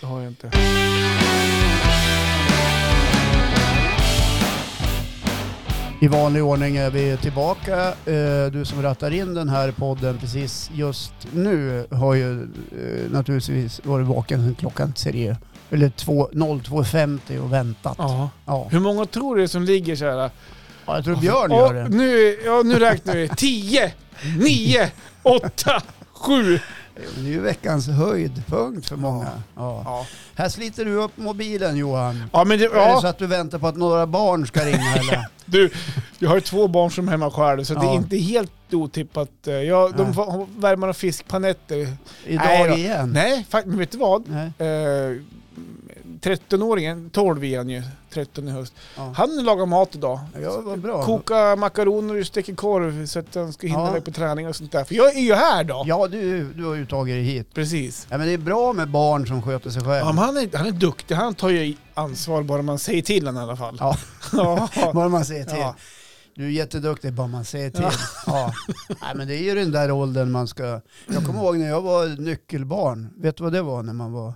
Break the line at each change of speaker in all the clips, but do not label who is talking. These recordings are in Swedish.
Det har jag inte.
I vanlig ordning är vi tillbaka. Eh, Du som rattar in den här podden precis just nu har ju eh, naturligtvis varit vaken sedan klockan tre, eller två- 02.50 och väntat. Ja.
Ja.
Ja.
Hur många tror du som ligger så här?
jag tror Björn gör
Ja,
det.
nu, ja, nu räknar vi. 10, 9, 8, 7.
Det är ju veckans höjdpunkt för många. Ja.
Ja,
Här sliter du upp mobilen Johan.
ja men det,
Är det så
ja,
att du väntar på att några barn ska ringa eller?
du, jag har ju två barn som är hemma själv så det är
Ja.
inte helt otippat. eh, Jag, de
Nej. Mm.
får- värmer och fiskpanetter.
Idag
Nej då.
igen?
Nej, fakt, men vet du vad?
Nej.
Eh, 13-åringen, 12 är han ju, 13 i höst.
Ja.
Han lagar mat idag.
Ja, vad bra.
Koka makaroner och steker korv så att han ska hinna
Ja.
iväg på träning och sånt där. För jag är ju här då!
Ja, du, du har ju tagit dig hit.
Precis.
Ja, men det är bra med barn som sköter sig själv.
Ja, men han, är, han är duktig, han tar ju ansvar bara man säger till honom i alla fall.
Ja.
ja.
Bara man säger till.
Ja.
Du är jätteduktig, bara man säger till.
Ja.
Ja. Nej, men det är ju den där åldern man ska... Jag kommer ihåg när jag var nyckelbarn. Vet du vad det var när man var?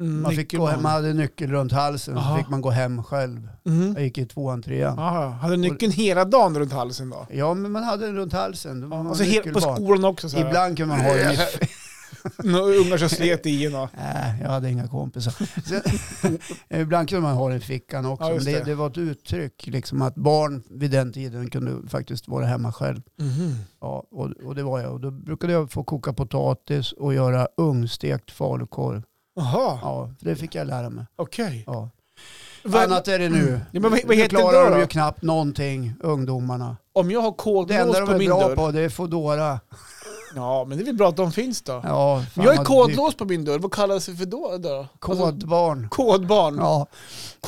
Mm,
Man, fick gå
nyckelman.
hem, man hade nyckel runt halsen och så
Aha.
fick man gå hem själv.
Mm.
Jag gick i tvåan, trean.
Aha. Hade nyckeln hela dagen runt halsen då?
Ja, men man hade den runt halsen. Då var man
Alltså helt på
nyckelbarn.
skolan också så här.
Ibland kunde man ha den i...
Några ungar som slet i en och...
Nej, jag hade inga kompisar. Sen, ibland kunde man ha den i fickan också.
Ja,
men
just
det,
det.
det. var ett uttryck, liksom, att barn vid den tiden kunde faktiskt vara hemma själv. Ja, och, och det var jag. Och då brukade jag få koka potatis och göra ugnstekt falukorv.
Jaha,
Ja, för det fick jag lära mig.
okej.
Ja.
Vad-
Annat är det nu.
Ja, men vad, vad heter
klarar
det
de
då?
ju knappt någonting, ungdomarna.
Om jag har
Det
kodlås
enda de
på
är
min
bra
dörr.
på det är Foodora.
Ja, men det är väl bra att de finns då.
Ja, fan
jag är
vad dyrt.
kodlås på min dörr, vad kallas det för då? då? Alltså,
Kodbarn.
kodbarn,
Ja,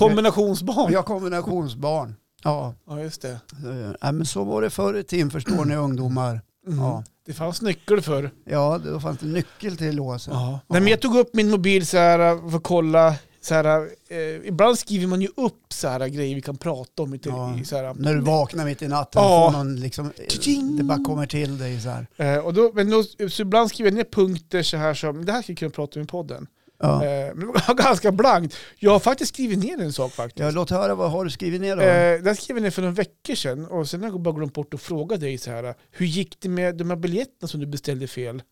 kombinationsbarn. Ja.
jag är kombinationsbarn. Ja,
just det.
eh, nej, men så var det förr i tiden förstår ni ungdomar.
Mm.
Ja.
Det fanns nyckel förr.
Ja, då fanns det nyckel till låset.
Ja. Nej, men jag tog upp min mobil så här för att kolla. Så här, eh, ibland skriver man ju upp så här grejer vi kan prata om. I, te-
Ja.
i så här,
När du vaknar mitt i natten
Ja.
får någon liksom,
Tjing!
det bara kommer till dig så här.
eh, och då, men då, så ibland skriver jag ner punkter så här som, det här skulle jag kunna prata om i podden.
Ja.
Eh, men det var ganska blankt. Jag har faktiskt skrivit ner en sak faktiskt.
Ja, låt höra, vad har du skrivit ner då?
Eh, det här skrev jag ner för några veckor sedan och sen har jag bara glömt bort att fråga dig så här. Hur gick det med de här biljetterna som du beställde fel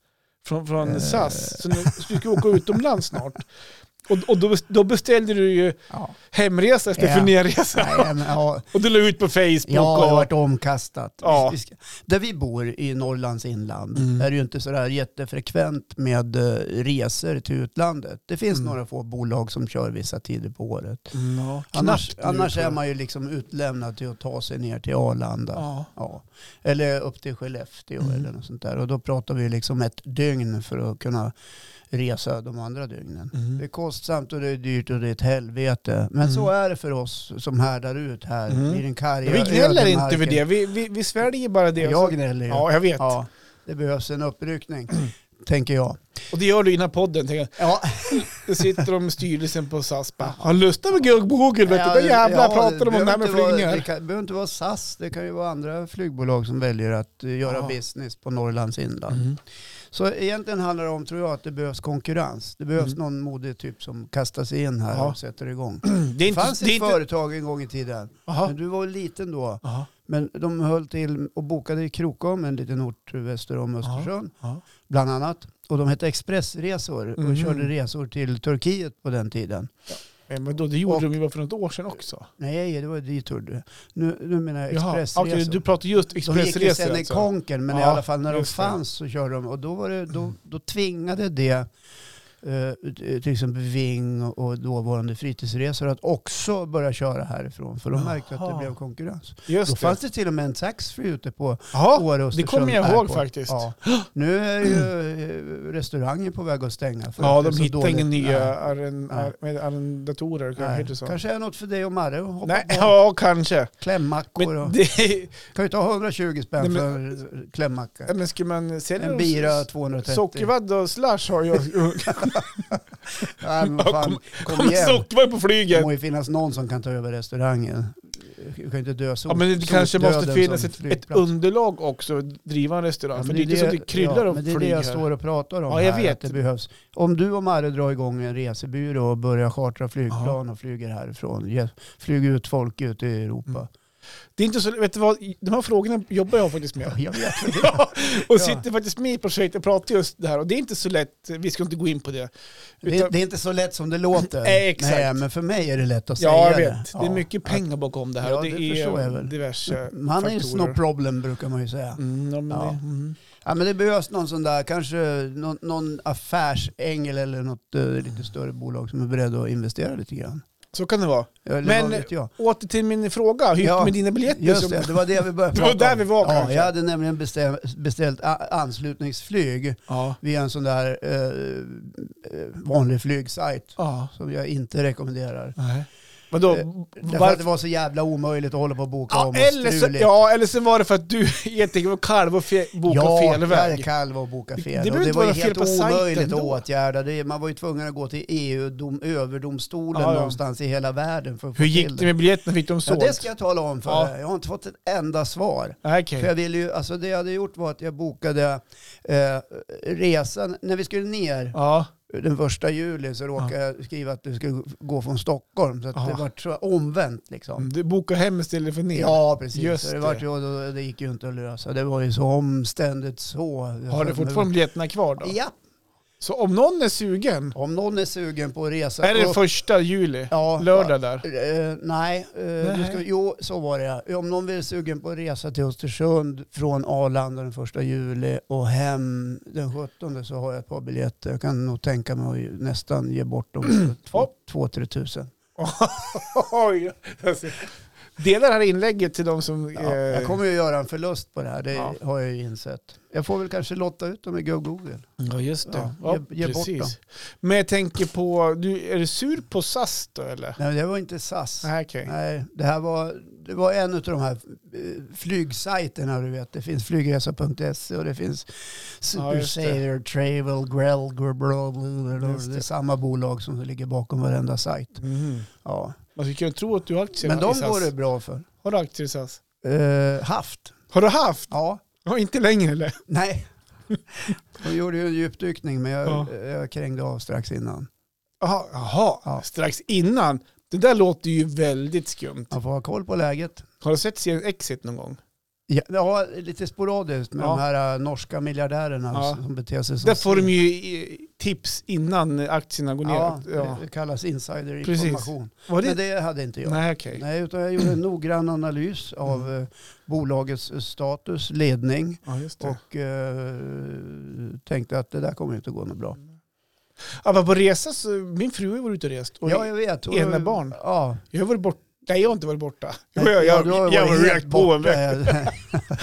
från, från
Eh.
SAS? Så nu så du ska åka utomlands snart. Och, och då, då beställde du ju
ja.
hemresa istället för
Ja.
nerresa.
Nej, men, ja.
Och du la ut på Facebook.
Jag har
och,
varit omkastat.
Ja.
Vi ska- Där vi bor i Norrlands inland
Mm.
är det ju inte sådär jättefrekvent med eh, resor till utlandet. Det finns
Mm.
några få bolag som kör vissa tider på året.
Ja, knappt
Annars,
nu,
annars
tror jag.
är man ju liksom utlämnad till att ta sig ner till Arlanda.
Ja.
Ja. Eller upp till Skellefteå
Mm.
eller något sånt där. Och då pratar vi liksom ett dygn för att kunna resa de andra dygnen. Det är
Mm.
kostsamt och det är dyrt och det är ett helvete. Men
Mm.
så är det för oss som härdar ut här
Mm.
i den karga
Vi gnäller inte över
ödemarken.
det. Vi, vi, vi sväljer bara det. alltså-
Jag gnäller ju.
ja, jag vet. Mm.
Ja, det behövs en uppryckning, tänker jag.
Och det gör du i den här podden. tänker jag.
Ja,
Då sitter de i styrelsen på SAS bara, har lustat med Google, vet du? Vad jävlar pratar de om det här med
behöver inte vara-
flygningar?
Det kan- behöver inte vara SAS, det kan ju vara andra flygbolag som väljer att eh, göra
Ja.
business på Norrlands inland.
Mm.
Så egentligen handlar det om, tror jag, att det behövs konkurrens. Det behövs
Mm.
någon modig typ som kastar sig in här
Ja.
och sätter igång.
Det är
Det
inte...
fanns
det är
ett
inte
företag en gång i tiden,
Aha.
men du var liten då.
Aha.
Men de höll till och bokade i Krokom, en liten ort väster om Östersund,
Ja.
bland annat. Och de hette Expressresor och
Mhm.
körde resor till Turkiet på den tiden.
Nej, Men då, det gjorde
Och-
de ju bara för något år sedan också.
Nej, det var detour. du. Nu, nu menar jag
Jaha,
expressresor.
okej, du pratar just
De gick ju
expressresor
sen i
alltså.
konken, men i
Ja,
alla fall när de
just det. Mm.
fanns så körde de. Och då, var det, då, då tvingade det eh, till exempel Ving och dåvarande fritidsresor att också börja köra härifrån. För de märkte att det
Jaha.
blev konkurrens. Då
Just det.
fanns det till och med en taxfree ute på
Ja,
Åre och
det kommer jag ihåg faktiskt.
Ja. Nu är ju eh, restaurangen på väg att stänga. För
Ja,
att det är
de
så
hittar
dåligt.
inga nya
Nej,
arren-
Nej.
ar- med arrendatorer. kanske
nej.
heter det så.
Kanske är något för dig och Marre att hoppa
Nej,
på.
ja, kanske.
Klämmackor.
Men,
och,
det,
kan ju ta 120 spänn
Nej,
för klämmacka.
men skulle man sälja
En
dem-
bira 230.
Sockervadd och slash har jag.
Nej, men fan, kom,
Kommer
igen.
Sockervadd på
Det
flyget.
må ju finnas någon som kan ta över restaurangen. Du kan inte dö så.
Ja, men det kanske måste
sotdöden
finnas
som
ett, ett
flygplats.
underlag också, att driva en restaurang.
Ja,
för
men
det är inte så att det kryllar
ja,
av
men det är det
flyg
jag
här.
står och pratar om
Ja, jag
här,
vet.
att det behövs. Om du och Marre drar igång en resebyrå och börjar chartra flygplan och flyger härifrån, ge- flyger ut folk ut i
Mm.
Europa.
Det är inte så, vet du vad, de här frågorna jobbar jag faktiskt med.
Ja, jag vet.
Ja, och
Ja.
sitter faktiskt med i projektet och pratar just det här. Och det är inte så lätt, vi ska inte gå in på det.
Det,
Utan-
det är inte så lätt som det låter.
Nej, exakt.
men för mig är det lätt att säga
Ja, jag vet.
det.
Det är mycket pengar bakom det här.
Ja,
och det,
det förstår jag
är
väl.
diverse
Man Mm. är ju
faktorer.
no problem brukar man ju säga.
Mm, ja, men
Ja.
Det, mm.
Ja, men det behövs någon sån där, kanske någon, någon affärsängel eller något eh,
Mm.
lite större bolag som är beredd att investera lite grann.
Så kan det vara.
Eller
Men-
vad vet jag.
Åter till min fråga, hur gick
Ja,
det med dina biljetter?
Just
som-
det, det var det vi började
Det var
prata
där
om.
vi var
ja,
kanske.
Jag hade nämligen beställt, beställt a- anslutningsflyg
Ja.
via en sån där eh, eh, vanlig flygsajt
ja.
som jag inte rekommenderar.
Nej. Vadå?
Eh, Därför att det
Varför?
var så jävla omöjligt att hålla på och boka om
Ja,
och
eller, så,
struligt.
ja, eller så var det för att du helt enkelt var kalv och fe, bokade
ja,
fel
jag är
väg.
kalv och boka
Det- det
fel. Det,
behöver
och det
inte
var ju
vara fel
helt
på sajten
omöjligt att
då.
åtgärda. Det, man var ju tvungen att gå till EU-överdomstolen
Ja, ja.
någonstans i hela världen för att få
Hur
till
gick det med biljetterna? Fick de
Ja,
sålt?
det ska jag tala om för
Ja.
dig. Jag har inte fått ett enda svar.
Nej, okej.
För jag ville ju, alltså det jag hade gjort var att jag bokade eh, resan. När vi skulle ner
Ja,
den första juli så råkade jag skriva att du skulle gå från Stockholm. Så att
Ja.
det var så omvänt liksom.
Mm, du bokar hem istället för ner.
Ja, precis.
Just
Så det,
det.
vart ju, och då, det gick ju inte att lösa. Det var ju så omständigt så.
Har du fortfarande biljetterna kvar då?
Ja,
Så om någon är sugen,
om någon är sugen på att resa.
är det
upp-
första juli?
ja,
Lördag där?
Eh, nej, eh, du
Nej.
ska, jo så var det. Om någon vill sugen på att resa till Östersund från Arlanda den 1 juli och hem den 17 så har jag ett par biljetter. Jag kan nog tänka mig att nästan ge bort dem för
Ja.
2-3 tusen.
Oj! Alltså, Dela det här inlägget till de som...
Ja, jag kommer ju göra en förlust på det här, det
Eh. Ja.
har jag ju insett. Jag får väl kanske lotta ut dem i Go Google.
Ja, just
det.
det.
Ja, ge- ge bort dem.
Men jag tänker på, du, är du sur på SAS då eller?
Nej, det var inte SAS.
Nej, okej.
Nej, det här var, det var en av de här eh, flygsajterna du vet. Det finns flygresa.se och det finns
Ja,
Super
just det.
Sailor, Travel, Grell, Grell,
Just
det.
det.
är samma bolag som ligger bakom varenda sajt. Ja.
Mhm. Man skulle kunna tro att du har aktier
Men de
i SAS.
går det bra för.
Har du aktier i SAS?
Eh, haft?
Har du haft?
Ja.
Ja, inte längre eller?
Nej. De gjorde ju en djupdykning men jag,
Ja.
jag krängde av strax innan.
Jaha, jaha.
Ja.
strax innan. Det där låter ju väldigt skumt.
Man får ha koll på läget.
Har du sett serien Exit någon gång?
Ja, ja, lite sporadiskt med
Ja.
de här eh, norska miljardärerna
Ja.
som beter sig som
Där får
svin.
de ju eh, tips innan aktierna går ner.
Ja,
Ja.
det kallas insiderinformation.
Var det?
Men det hade inte jag. Nej.
Nej, Mm. okej.
utan jag gjorde en noggrann analys av eh, bolagets eh, status, ledning
Ja, just det.
och eh, tänkte att det där kommer inte gå något bra.
Apropå resa, så, min fru har varit ute och rest. Och
ja, jag vet. Och-
egna barn.
Ja.
Jag har varit borta. Nej, jag har inte varit borta. Jo,
Ja,
jag, jag,
du har
jag,
ju
jag
varit
har
helt
rökt på en vecka.
borta.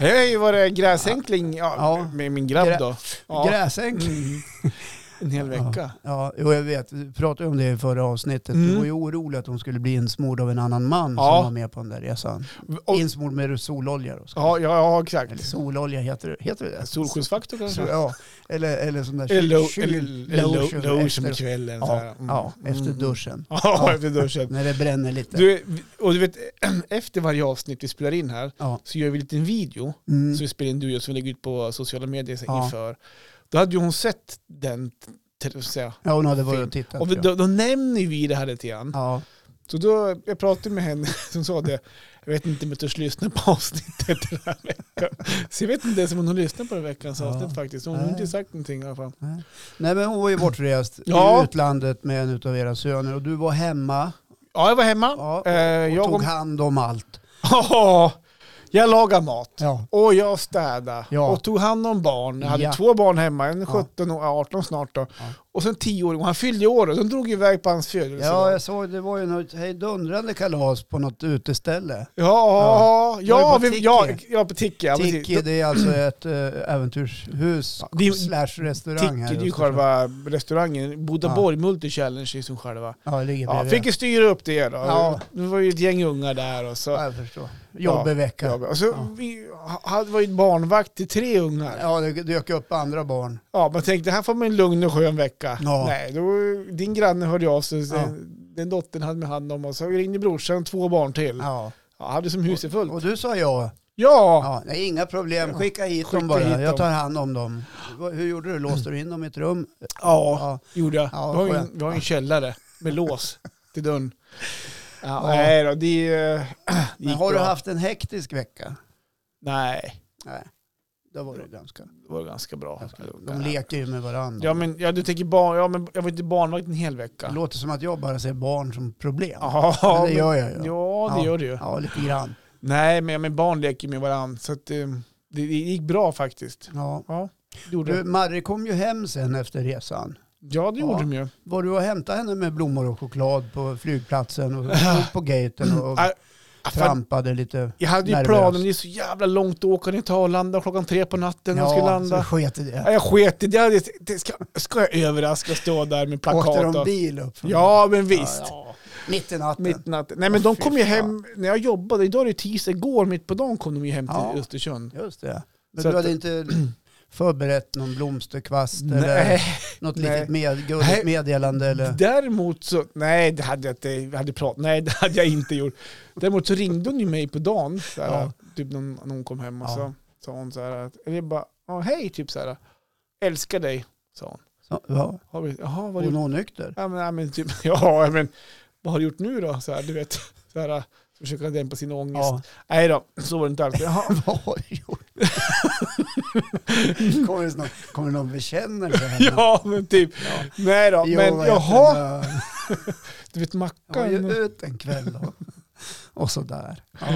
Jag har ju varit gräsänkling ja,
Ja.
med min grabb då. Ja.
Gräsänk.
Mm. En hel vecka.
Ja, jo, jag vet. Vi pratade om det i förra avsnittet. Du
Mm.
var ju orolig att hon skulle bli insmord av en annan man
Ja.
som var med på den där resan.
Och,
Insmord med sololja då. ska
ja, ja, ja,
Eller
exakt.
sololja, heter det heter det?
Solskyddsfaktor
Så,
kanske?
ja, eller, eller sån där
Eller lo-
kyl-
eller- eller
lotion
lo- lotion
efter-
på kvällen. så här.
Ja,
Mm.
ja, efter
Mm.
duschen.
Ja, efter duschen.
När det bränner lite.
Du, och du vet, efter varje avsnitt vi spelar in här
Ja.
så gör vi en liten video
Mm.
Så vi spelade in du och jag som vi lägger ut på sociala medier sen
Ja.
inför. Då hade ju hon sett den, till att säga.
ja, hon hade varit
Film.
och tittat.
Och vi-
ja.
då, då nämner ju vi det här lite grann.
Ja.
Så då, jag pratade med henne som sa det, jag vet inte om jag törs lyssna på avsnittet den här veckan. Så jag vet inte ens om hon har lyssnat på den här veckans
Ja.
avsnitt faktiskt. Hon har
Nej.
inte sagt någonting i alla fall.
Nej men hon var ju bortrest
Ja.
i utlandet med en av era söner och du var hemma
Ja, jag var hemma.
Ja, och-
Eh,
och
jag
tog
och
hand om allt.
Ja, jag lagade mat.
Ja.
Och jag städade
Ja.
och tog hand om barn. Jag hade
Ja.
två barn hemma, en
Ja.
17 och 18 snart då.
Ja.
Och sen 10 år, och han fyllde ju år och de drog iväg på hans
ja,
födelsedag. Ja,
jag såg det var ju något hejdundrande kalas på något uteställe.
ja, ja,
Var
ja,
det på
vi, ja,
Tiki?
ja, på Tiki. Ja, precis.
Tiki, det är alltså ett äh, äventyrshus
Ja, det är-
slash restaurang här.
Tiki, det är
i
ju
Östersund.
själva restaurangen. Bodaborg Multi Challenge är som själva.
Ja, det ligger
Ja,
bredvid.
fick ju styra upp det då.
Ja.
Det var ju ett gäng ungar där och så.
Ja, jag förstår. Jobbig vecka.
Ja, och så
Ja.
Vi hade varit barnvakt till tre ungar. Ja.
Ja, det dök upp andra barn.
man tänkte här får man en lugn och skön vecka.
Ja.
Nej, då, din granne hörde av sig. eh,
Ja.
Den, den dottern hade med hand om och så ringde brorsan och två barn till.
Ja.
Ja, hade som huset fullt.
Och du sa ja.
Ja,
ja nej, inga problem, skicka hit
Skicka
dem bara.
hit
Jag
dem.
tar hand om dem. Vad- Hur gjorde du? Låste du in dem i ett rum?
ja, gjorde jag.
Ja,
vi, har ju
skönt.
en, vi har ju en källare med lås till dörren. Ja,
Ja.
Nej då, det, eh, det
Men
gick
har du
bra.
haft en hektisk vecka?
Nej,
Nej, det var det ganska.
det var ganska bra.
De leker ju med varandra.
Ja men, ja, du tänker barn, ja, men jag var inte barnvakt en hel
Det
vecka.
låter som att jag bara ser barn som problem.
Ja,
men det gör jag ju.
men- Ja, det
Ja.
gör du ju.
Ja, lite grann.
Nej, men, men barn leker med varandra. Så att, eh, det, det gick bra faktiskt.
Ja.
Ja, det gjorde
Du,
det.
Marre kom ju hem sen efter resan.
Ja, det
Ja.
gjorde de ju.
Var du och hämtade henne med blommor och choklad på flygplatsen och stod på gaten och
Ah, ah, fan,
trampade lite?
Jag hade ju
Nervös.
planen, det är så jävla långt att åka ner till Arlanda klockan tre på natten när jag skulle
Ja, så
landa.
sket i
Ja,
det.
jag sket i det. Jag hade- det ska, ska jag överraska och stå där med plakat?
Åkte de
och-
bil upp? från-
Ja, men visst.
Ja, ja. Mitt i natten.
Mitt i natten. Nej men
Åh,
de
fy
kom ju
fan.
hem när jag jobbade. Idag är det tisdag, igår mitt på dagen kom de ju hem till
Ja.
Östersund.
Just det. Men
Så
du
att-
hade inte förberett någon blomsterkvast eller
Nej.
något
Nej.
litet med, gulligt
Nej.
meddelande eller?
Däremot så, nej det hade jag inte, jag hade prat, nej det hade jag inte gjort. Däremot så ringde hon ju mig på dagen, så här,
Ja.
typ när hon, när hon kom hem och
Ja.
så sa hon så här, att- eller jag bara, "Ja, hej typ så här, älskar dig, sa hon.
Så, ja.
Har vi, Jaha, vad har du
Hon
gjort?
onykter?
Ja men, ja, men typ, ja men vad har du gjort nu då? Så här, du vet, så här, försöka dämpa sin ångest.
Ja.
Nej då, så var det inte alls. Jaha,
Vad har du gjort? kommer, det någon, kommer det någon bekännelse? här?
ja men typ,
Ja.
nej då,
Jo,
men
vad heter
jaha,
den där?
du vet
Jag var ju
Mackan.
ut en kväll då. Och sådär. Ja.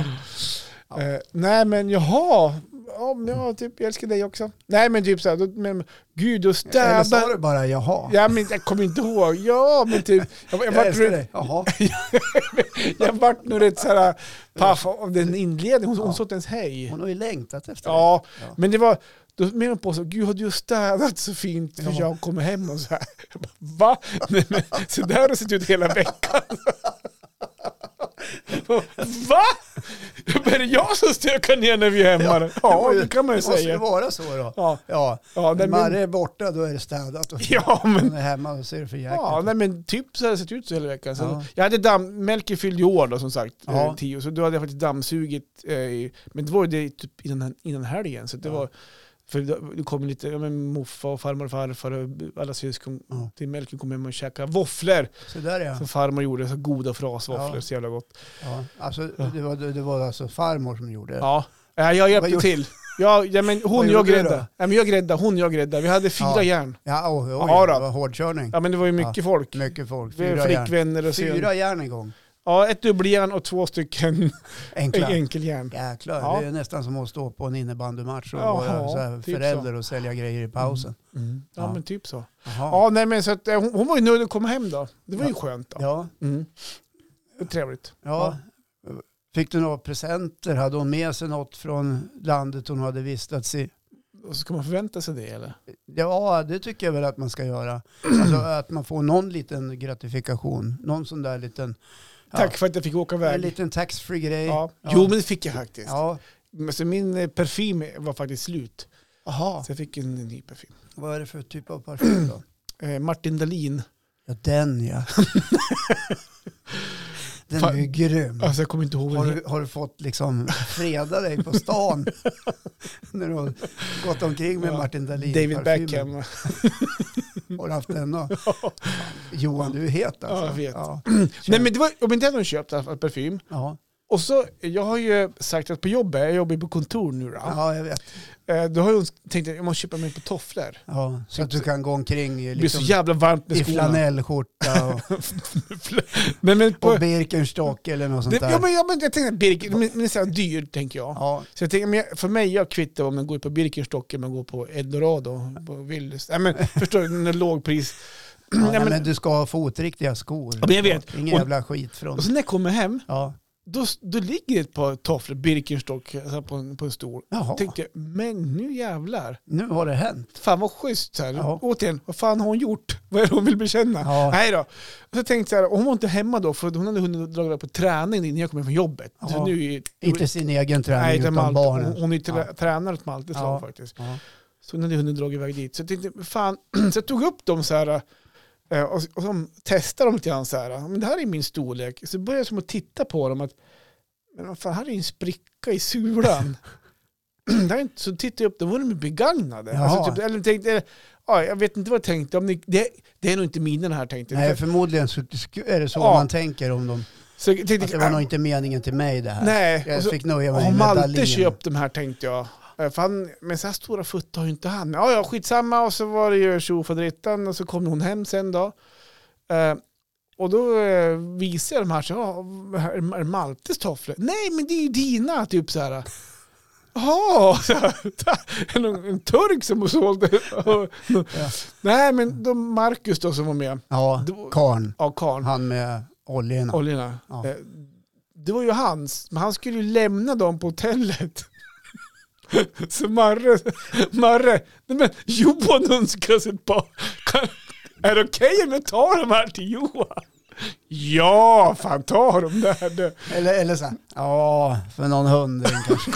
Ja. Mm.
Eh, nej men jaha, ja, men jag, typ, jag älskar dig också. Nej men typ såhär, då- men, gud då
Eller sa
stäbbar...
du bara jaha?
Ja men jag kommer inte ihåg, ja men typ. Jag, jag,
Jag,
vart,
älskar
jag,
dig. Jaha.
vart nu rätt såhär paff av den inledningen, hon,
Ja.
hon sa inte ens hej.
Hon har ju längtat efter dig.
Ja,
Ja.
men det var, då menar hon på så, gud har du städat så fint för
Ja.
jag kommer hem och så här. Jag bara, Va? Nej, men, så där har det sett ut hela veckan. Va? Men är det jag som stökar ner när vi är hemma? Ja, det kan man ju
Måste det
säga.
vara så då?
Ja,
Ja.
ja,
När
nej,
Marre
men,
är borta då är det städat. Och
ja,
Hon
men,
är hemma och ser för jäkligt.
ja nej, men typ så har det sett ut så hela veckan. Så
Ja.
Jag hade damm, Melker fyllde ju år då som sagt,
Ja.
eh, tio, så då hade jag faktiskt dammsugit. Eh, i- men det var ju det typ innan, innan helgen, så det
Ja.
var för det det kom lite, ja men moffa och farmor och farfar och alla syskon
Ja.
till Melker kom hem och käkade våfflor
Så där ja.
som farmor gjorde, så goda frasvåfflor,
Ja.
så jävla gott.
ja. Alltså, det, var, det var alltså farmor som gjorde det.
Ja, ja jag
Vad
hjälpte
gjorde-
till. Ja, ja, men
Vad
hon
gjorde
jag
du då?
grädda. Ja, men jag grädda, hon jag grädda. Vi hade fyra
Ja.
järn.
Ja, oj, oj,
Ja, då.
det var hårdkörning.
Ja men det var ju mycket folk.
Mycket folk.
Vi
Fyra
hade
järn.
Flickvänner och syn.
Fyra järn en gång.
Ja, ett dubbeljärn och två stycken
Enkla.
enkeljärn.
Jäklar,
Ja.
det är nästan som att stå på en innebandymatch och
Jaha,
vara så här
typ
förälder och sälja grejer i pausen.
Ja,
Ja.
men typ så.
Jaha.
Ja nej men så att eh, hon, hon var ju nöjd att komma hem då. Det var ju skönt då.
Ja.
Mm. Det är trevligt.
Ja. Fick du några presenter? Hade hon med sig något från landet hon hade vistats i?
Och så ska man förvänta sig det eller?
Ja, det tycker jag väl att man ska göra. Alltså att man får någon liten gratifikation. Någon sån där liten... ja,
Tack för att jag fick åka
En
iväg.
liten taxfree grej. Ja.
Ja. Jo men det fick jag faktiskt.
ja.
Men Så min eh, parfym var faktiskt slut.
Aha.
Så jag fick en ny parfym.
Vad är det för typ av parfym då?
Eh, Martin Dahlin.
Ja, den ja. den
Fa-
är ju grym.
Alltså jag kommer inte ihåg vad
Har
den
du, har du fått liksom freda dig på stan när du har gått omkring med
Ja,
Martin Dahlin?
heter. David
parfymen?
Beckham.
Har du haft den då? Johan, du är het alltså.
Ja, jag vet.
Ja,
Nej men det var, om inte jag hade köpt i alla fall parfym.
ja.
Och så, eh, jag har ju sagt att på jobbet, jag jobbar ju på kontor nu då.
ja jag vet.
Eh, Då har jag tänkt att jag måste köpa mig på tofflor.
Ja, så att du kan gå omkring i,
Det blir så
liksom,
jävla varmt
i
med skorna.
flanellskjorta och,
Nej, men på,
och Birkenstock eller något sånt
det,
där.
ja, men, ja, men jag tänkte att Birken, men, men det är så här dyr tänker jag.
ja,
Så jag tänker, men jag- för mig, jag kvittar om man går på Birkenstock eller om man går på Eldorado, på Willys. Nej men förstår du, den är lågpris.
ja, nej,
Nej, men-
men du ska ha fotriktiga skor.
Ja, men jag vet.
Ingen
Och-
jävla skit från...
Och sen när jag kommer hem,
Ja.
då, då ligger det ett par tofflor, Birkenstock, alltså på, en, på en stol.
Jaha,
Då tänkte jag, men nu jävlar.
nu har det hänt.
Fan vad schysst. Så här.
Ja.
Återigen, vad fan har hon gjort? Vad är det hon vill bekänna?
Ja.
Nej då. Och så tänkte jag, så här, och hon var inte hemma då, för hon hade hunnit dra iväg på träning innan jag kom hem från jobbet.
Ja.
Så nu är,
Inte sin egen träning
Nej, utan
utan
Malte.
barnen.
Hon, hon är Mm. ju trä-
Ja.
tränare åt Maltes
Ja.
lag faktiskt.
Ja.
Så hon hade hunnit dra iväg dit. Så jag tänkte, fan, så jag tog upp dem så här eh, och, och så testade dem lite grann så här. Men det här är min storlek. Så började jag som att titta på dem att Men vad fan, här är ju en spricka i sulan. det här är inte, så tittade jag upp, då var de ju begagnade.
Jaha.
Alltså, typ, eller tänkte, eller, ja, jag vet inte vad jag tänkte. Om ni, det, det är nog inte mina den här tänkte jag.
Nej, förmodligen så sk- är det så
Ja.
man tänker om dem.
Så jag tänkte,
Att det var nog inte meningen till mig det här.
nej.
Jag
Och så,
fick nöja mig
har
med
Malte
medaljen.
köpt de här tänkte jag. Eh, För han, men så här stora fötter har ju inte han. Men Ja, ja, skitsamma. Och så var det ju tjofaderittan och så kom hon hem sen då. Eh, och då eh, visade jag de här, så, ja, här är Maltes tofflor? Nej, men det är ju dina, typ så här. Jaha, så här, en, en turk som sålde. Och, Nej, men då Marcus då som var med,
Ja,
Det var-
karn.
ja, karln.
Han med oljorna.
oljorna.
Ja.
Eh, Det var ju hans, men han skulle ju lämna dem på hotellet. Så Marre, Marre, nej men Johan önskas ett par. Kan, är det okej om jag tar de här till Johan? Ja, fan ta dem där du.
Eller, eller så här, ja, för någon hundring kanske.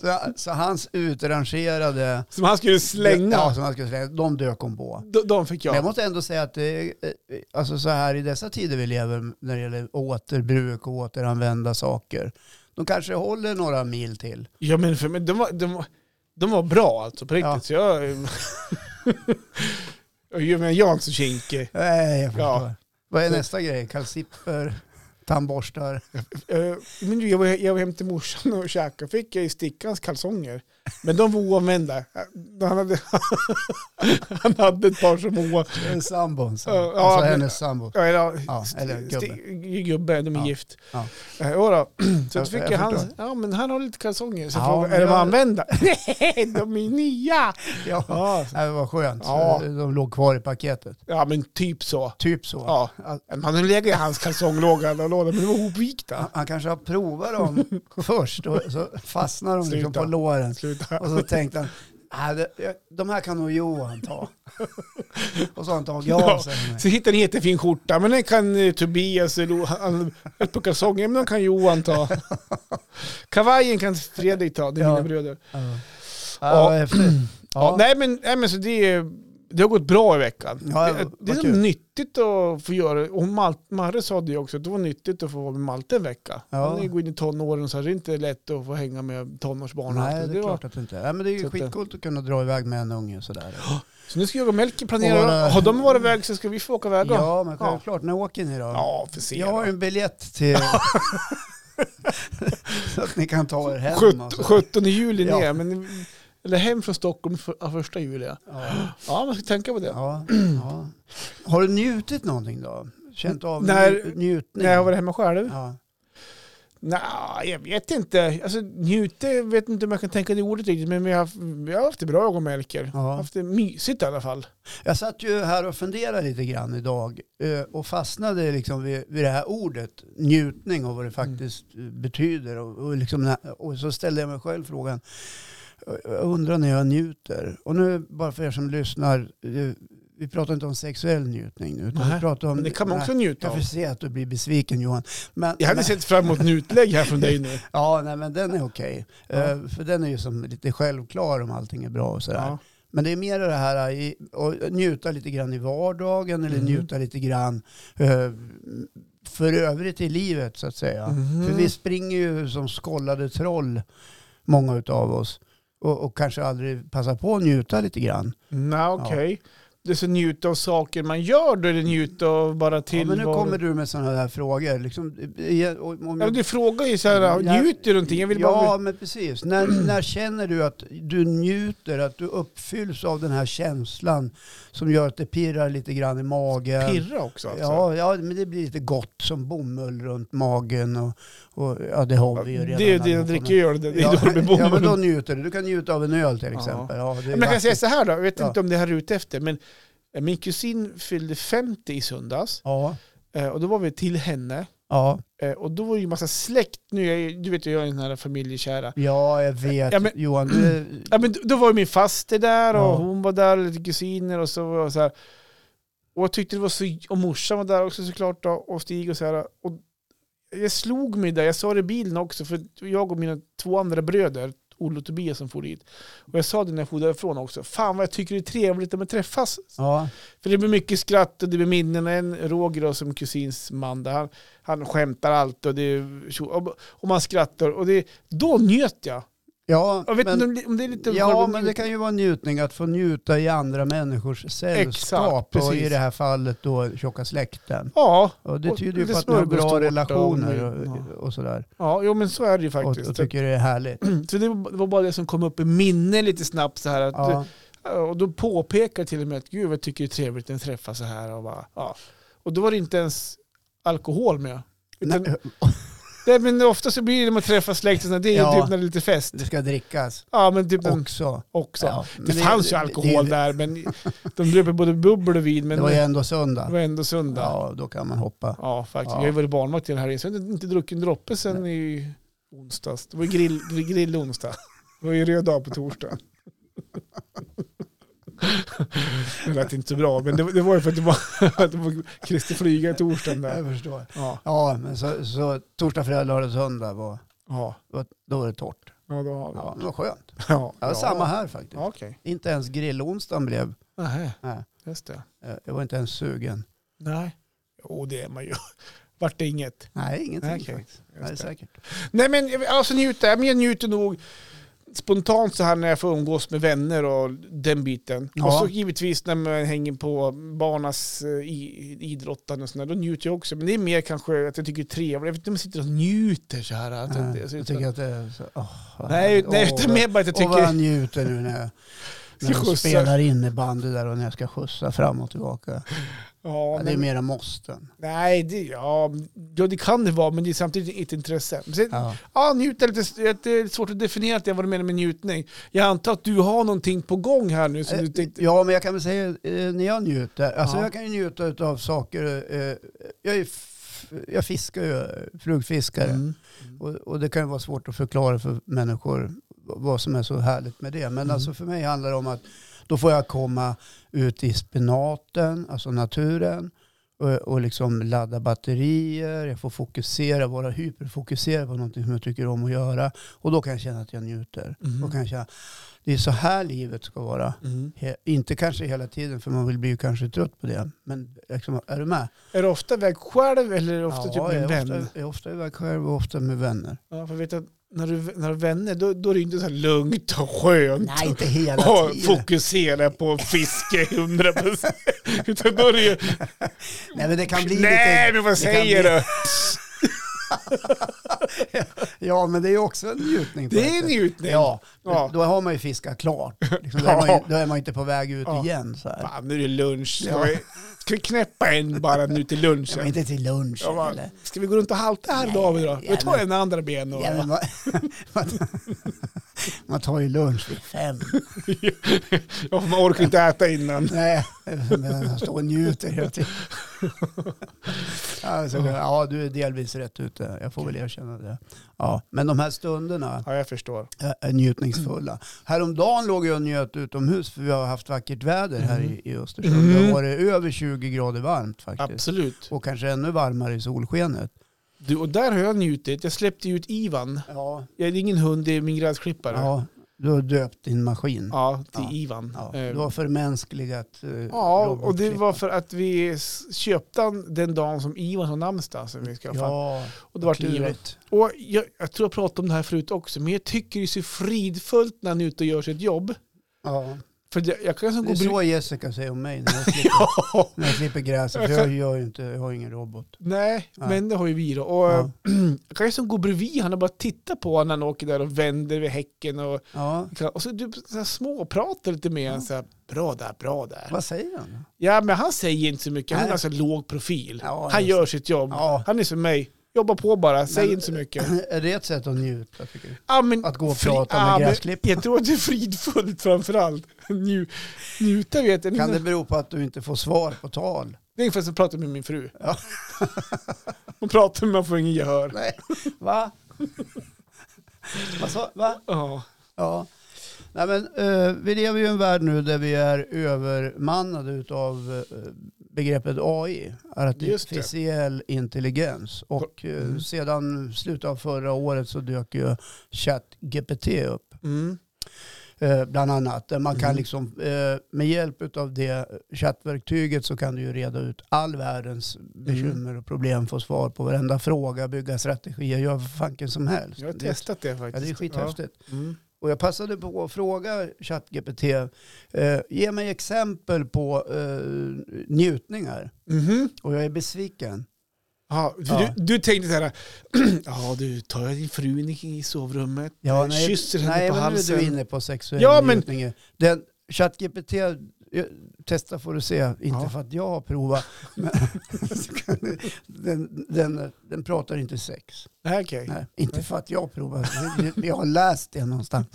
så, så hans utrangerade...
Som han skulle slänga.
Ja, som han skulle slänga. De dök hon på.
De, de fick
Men jag
jag.
måste ändå säga att det, är- eh, alltså så här i dessa tider vi lever när det gäller återbruk och återanvända saker. De kanske håller några mil till.
Ja men för mig, de var, de, var- de var bra alltså på riktigt.
Ja.
Så jag... Och ju men jag är inte så kinkig.
Nej, jag förstår.
Ja.
Vad är nästa grej? Kalsipper, tandborstar.
Eh, men du, jag, var, jag var hem till morsan och käkade fick jag ju stickans kalsonger. Men de var oanvända. Eh, Han hade, han hade ett par som var...
En sambon. sa-
Ja,
Alltså
men-
hennes sambo.
Ja, eller,
Ja,
st-
eller gubbe.
sti- gubbe, de är
Ja,
gift.
ja.
Eh, och då, så
Jag-
då fick
jag
jag, hans,
förstår.
ja men han har lite kalsonger. Så
Ja,
frågade,
men
är de
jag-
använda? Nej, de är nya!
Ja.
Ja,
Nej, Det var skönt.
Ja.
De låg kvar i paketet.
ja men typ så.
Typ så.
Ja.
Att-
Han hade legat i hans kalsonglåga och låda, men de var
han-
hopvikta.
Han kanske har provat dem först och så fastnar de liksom
Sluta.
på låren.
Sluta.
Och så tänkte han, "Nej, det- de här kan nog Johan ta. Och så har han tagit av
Ja,
sig.
Så hittade en jättefin skjorta, men den kan eh, Tobias, eller han- ett par kalsonger, men den kan Johan ta. Kavajen kan Fredrik ta, det är
Ja.
mina bröder.
Ja. Ja, vad häftigt.
Ja.
Ja.
Nej men, nej, men så det, är- det har gått bra i veckan. det,
Ja,
det är
vad
så
kul.
nyttigt att få göra, och Mal- Marre sa det ju också, att det var nyttigt att få vara med Malte en vecka.
Ja.
Han är ju går in i tonåren så är det inte lätt att få hänga med tonårsbarn. och allt
Nej, det är
var-
klart att det inte är. Nej, men det är
Så
ju
att det-
skitcoolt att kunna dra iväg med en unge sådär.
Så nu ska jag och Melker
Och
planera,
våra-
har de varit iväg så ska vi få åka iväg då.
Ja, men självklart. När åker ni då?
ja för se
jag
då.
har ju en biljett till... så att ni kan ta er hem. och så.
17, 17 juli
Ja.
ner, men, eller hem från Stockholm för, ja, första juli. Ja.
Ja.
ja, man ska tänka på det.
Ja, ja. Har du njutit någonting då? Känt av
När-
nju- njutning?
När jag var hemma själv?
ja.
Nej, jag vet inte. Alltså njuter vet inte om jag kan tänka det ordet riktigt, men vi har, haft- vi har haft det bra jag Melker.
Ja.
Haft det mysigt i alla fall.
Jag satt ju här och funderade lite grann idag eh, och fastnade liksom vid, vid det här ordet njutning och vad det
Mm.
faktiskt eh, betyder. Och, och, liksom, när- och så ställde jag mig själv frågan, eh, jag undrar när jag njuter. Och nu bara för er som lyssnar, eh, vi pratar inte om sexuell njutning nu. Utan
Nej,
vi pratar om,
Men det kan man också
Nej,
njuta
jag
av.
får se att du blir besviken Johan. Men,
Jag hade
men,
sett fram emot en utlägg här från dig nu.
Ja, nej, men den är okej.
Ja.
Eh, För den är ju som lite självklar om allting är bra och sådär.
Ja.
Men det är mer det här eh, i, att njuta lite grann i vardagen eller
Mm.
njuta lite grann eh, för övrigt i livet så att säga.
Mhm.
För vi springer ju som skållade troll, många utav oss. Och, och kanske aldrig passar på att njuta lite grann.
Nej, okej. Det är så njuta av saker man gör då, eller njuta av bara till
Ja, men nu kommer du med sådana här frågor. Liksom, eh, och- om jag-
Ja, du frågar ju så här,
Mm, Jag-
njuter du någonting? Jag vill
ja,
bara...
men precis. När, när känner du att du njuter, att du uppfylls av den här känslan som gör att det pirrar lite grann i magen?
pirra också alltså.
Ja, ja, men det blir lite gott som bomull runt magen och, och ja, det har vi ju redan.
det är det jag
allihopa,
dricker
men-
gör det. Det är
Ja,
dåligt med
ja, men
bomull.
då njuter du. Du kan njuta av en öl till exempel. Ja, det är
Men jag kan
vackert.
säga så här då, jag vet
Ja.
inte om det här är ute efter, men eh, min kusin fyllde 50 i söndags
Ja,
eh, och då var vi till henne
ja,
eh, och då var det ju massa släkt, nu är jag, du vet ju, jag är en sån här familjekära.
ja, jag vet.
Ja, men-
Johan, du,
Ja, men då- då var ju min faster där och
Ja.
hon var där, och lite kusiner och så var jag så här. Och jag tyckte det var så, och morsan var där också såklart då, och Stig och så här. Och jag slog mig där, jag sa det i bilen också, för jag och mina två andra bröder, Olle och Tobias som for dit. Och jag sa det när jag for därifrån också. Fan vad jag tycker det är trevligt att man träffas.
Ja,
För det blir mycket skratt och det blir minnen. En Roger då, som kusins man, där han, han skämtar allt och, det, är tjo- och, och man skrattar. Och det, då njöt jag.
ja,
Jag vet
men,
inte om det- om det är lite...
ja
själva
men det
njut-
kan ju vara en njutning att få njuta i andra människors sällskap och
precis.
i det här fallet då tjocka släkten.
Ja,
Och det
Och
tyder ju
lite
på att ni har bra
smörgåstårta
relationer
och-
och,
ja.
och sådär.
ja jo, men så är det ju
Och,
faktiskt.
och tycker det är härligt.
Så det var det var bara det som kom upp i minne lite snabbt så här. Att
Ja,
Och då påpekar jag till och med att gud vad jag tycker det är trevligt att träffa så här. Och, bara, ja. och då var det inte ens alkohol med. Utan,
Nej,
nej, men ofta så blir det när man träffar släkten, så det är
Ja.
typ när det är lite fest.
det ska drickas
Ja men typ den
också.
också.
Ja, men
det, fanns ju alkohol
det,
där men de dröper både bubbel och vin men
Det var ju ändå söndag.
ändå söndag. Ja,
Ja, då kan man hoppa.
faktiskt.
Ja.
Jag har ju varit barnvakt i den här resan. Jag har inte druckit en droppe sedan i onsdags. Det var ju grill, grill onsdag. Det var ju röd dag på torsdag. Det lät inte så bra, men det, det var ju för att det var, att det var Christer Flyga i torsdagen där.
Jag förstår.
Ja,
Ja, men så, så torsdag, fredag, lördag, söndag var,
ja,
var- då var det torrt.
ja då har vi.
Ja, det var skönt.
Ja,
Ja, Samma här faktiskt.
Ja, okej.
Inte ens grillonsdagen blev...
Nähä,
Nej,
just det.
eh, jag var inte ens sugen.
Nej. Jo, det är man ju. Vart det inget.
Nej, ingenting
Okej,
faktiskt. Nej, det är
det.
säkert.
Nej men alltså njuta, men jag njuter nog spontant så här när jag får umgås med vänner och den biten.
Ja.
Och så givetvis när man hänger på barnas eh, i- idrottande och sådär, då njuter jag också. Men det är mer kanske att jag tycker det är trevligt. Jag vet inte om jag sitter och njuter så här. Att,
Nej,
alltså,
Eh, jag
utan-
tycker att det är så... åh, vad
nej,
härligt.
nej
Åh,
utan mer bara att jag
Åh, vad jag
tycker...
njuter nu när jag,
Ska
när jag
skjutsa.
spelar innebandy där och när jag ska skjutsa fram och tillbaka.
Ja,
Ja, det är
men,
mera måsten.
nej, det, ja, ja, det kan det vara, men det är samtidigt ett intresse. Men sen,
Ja.
Ja, njuta är lite det är svårt att definiera det, vad du menar med njutning. Jag antar att du har någonting på gång här nu som
Eh,
du tänkte...
Ja, men jag kan väl säga eh, när jag njuter. Alltså
Ja.
jag kan ju njuta av saker. eh, Jag, är f- jag fiskar ju, eh, flugfiskare.
Mm.
Och, och det kan ju vara svårt att förklara för människor v- vad som är så härligt med det. Men
Mm.
alltså för mig handlar det om att då får jag komma ut i spenaten, alltså naturen. Och, och liksom ladda batterier. Jag får fokusera, vara hyperfokuserad på någonting som jag tycker om att göra. Och då kan jag känna att jag njuter.
Mm.
Då kan jag känna, det är så här livet ska vara.
Mm.
He, inte kanske hela tiden, för man vill bli kanske trött på det. Men liksom, är du med?
Är du ofta iväg själv eller är du ofta typ
jag
med en
är
vän?
ofta, jag är ofta iväg själv och ofta med vänner.
Ja, för jag vet att när du, när du har vänner då, då är det inte så här lugnt och skönt.
Nej, inte hela
och
tiden.
fokusera på fiske 100 procent. Utan då är det ju...
Nej, men det kan bli
Nej,
lite...
men vad
det kan
säger
bli-
du?
Ja, men det är ju också en njutning. på
Det
ett
är en
sätt.
njutning.
Ja,
Ja.
då har man ju fiskat klart. Liksom, då, är man ju, då är man ju inte på väg ut
Ja.
igen. Så här.
Fan, nu är det lunch. Ska
Ja.
vi, ska vi knäppa en bara nu till
Ja, men
lunchen?
inte till lunch.
Jag bara,
eller?
ska vi gå runt och halta här
Nej,
David då? Vi
ja,
tar
men-
en andra ben och...
Ja, men man, man- man tar ju lunch vid fem.
Ja, för man orkar inte äta innan.
Nej, men han står och njuter hela tiden. Alltså, ja, du är delvis rätt ute. Jag får väl erkänna det. Ja, men de här stunderna
Ja, jag förstår.
är- är njutningsfulla. Häromdagen låg jag och njöt utomhus för vi har haft vackert väder här i, i Östersund. Det
Mm.
har varit över 20 grader varmt faktiskt.
Absolut.
Och kanske ännu varmare i solskenet.
Du, och där har jag njutit. Jag släppte ut Ivan.
Ja,
Jag det är ingen hund, det är min gräsklippare. Ja,
ja du har döpt din maskin.
till
Ja.
Ivan.
Ja,
Eh,
du har förmänskligat eh,
Ja, och det var
robotklipparen.
för att vi s- köpte han den dagen som Ivan har namnsdag. Som vi ska ja,
Ja,
och det var Ivan.
klurigt.
Och jag, jag tror jag pratade om det här förut också, men jag tycker det är så fridfullt när han är ute och gör sitt jobb.
Ja.
För jag, jag kan som gå
Det är
och bry-
så Jessica säger om mig när jag klipper,
Ja.
när jag klipper gräset. För
Jag
jag,
kan-
gör ju inte, jag har ingen robot.
Nej,
Nej.
men det har ju vi då. Och
Ja.
jag kan som gå bredvid han och bara titta på honom när han åker där och vänder vid häcken. Och,
Ja.
och så, du, så här småpratar lite med honom. så här, Bra där, bra där.
Vad säger han?
Ja, men han säger inte så mycket. Han
Nej.
har ganska låg profil.
Ja,
han
just
gör sitt jobb.
Ja.
Han är som mig. Jobba på bara, säg inte så mycket.
Är det ett sätt att njuta tycker du?
Ja, men
Att gå och
fri-
prata med
men
gräsklipparna.
Jag tror att det är fridfullt framförallt. Nju, njuta vet jag.
Kan det bero på att du inte får svar på tal?
Det är ungefär som att prata med min fru.
Ja.
Man pratar men man får ingen gehör.
Nej. Va? Vad sa Va?
Ja.
Ja. Nej, men, eh, vi lever ju i en värld nu där vi är övermannade utav eh, begreppet AI, artificiell intelligens. Och eh,
Mm.
sedan slutet av förra året så dök ju ChatGPT upp.
Mm.
eh, bland annat. Där man kan
Mm.
liksom, eh, med hjälp av det chattverktyget så kan du ju reda ut all världens
Mm.
bekymmer och problem, få svar på varenda fråga, bygga strategier, göra vad fanken som helst.
Jag har
Det-
testat det
Ja,
faktiskt.
det är skithäftigt.
Ja. Mm.
Och jag passade på att fråga ChatGPT, eh, ge mig exempel på eh, njutningar.
Mhm.
Och jag är besviken.
Ja, för
Ja.
Du, du tänkte så här, ja du tar jag din fru in i sovrummet,
Ja,
eh, kysser henne
nej,
på
men
halsen.
Nu är du inne på sexuell
Ja,
ja,
men-
njutning. Den, ChatGPT, eh, testa får du se, inte
Ja.
för att jag har provat. Men, så kan du- den, den, den pratar inte sex.
Nej, okej.
Nej, inte för att jag har provat. Jag har läst det någonstans.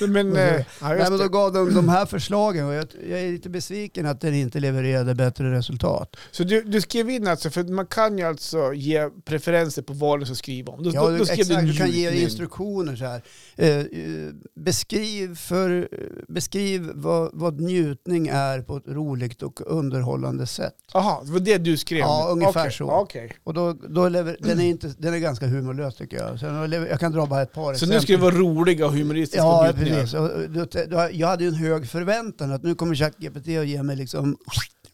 Men, eh, ja,
Nej,
just
men då
det.
gav de de här förslagen och jag, jag är lite besviken att den inte levererade bättre resultat.
Så du, du skrev in alltså, för man kan ju alltså ge preferenser på vad du ska skriva om. Då,
Ja,
då,
du,
då skrev
exakt, du kan
njutning.
ge instruktioner så här. Eh, eh, beskriv för, eh, beskriv vad, vad njutning är på ett roligt och underhållande sätt.
Jaha, det var det du skrev?
Ja, ungefär
Okej,
så.
okej.
Och då, då lever, den, är inte, den är ganska humorlös tycker jag. Sen, har lever- jag kan dra bara ett par
Så nu ska det vara roliga och humoristiska
Ja,
njutningar.
precis. Och, eh, då, då, jag hade ju en hög förväntan att nu kommer ChatGPT att ge mig liksom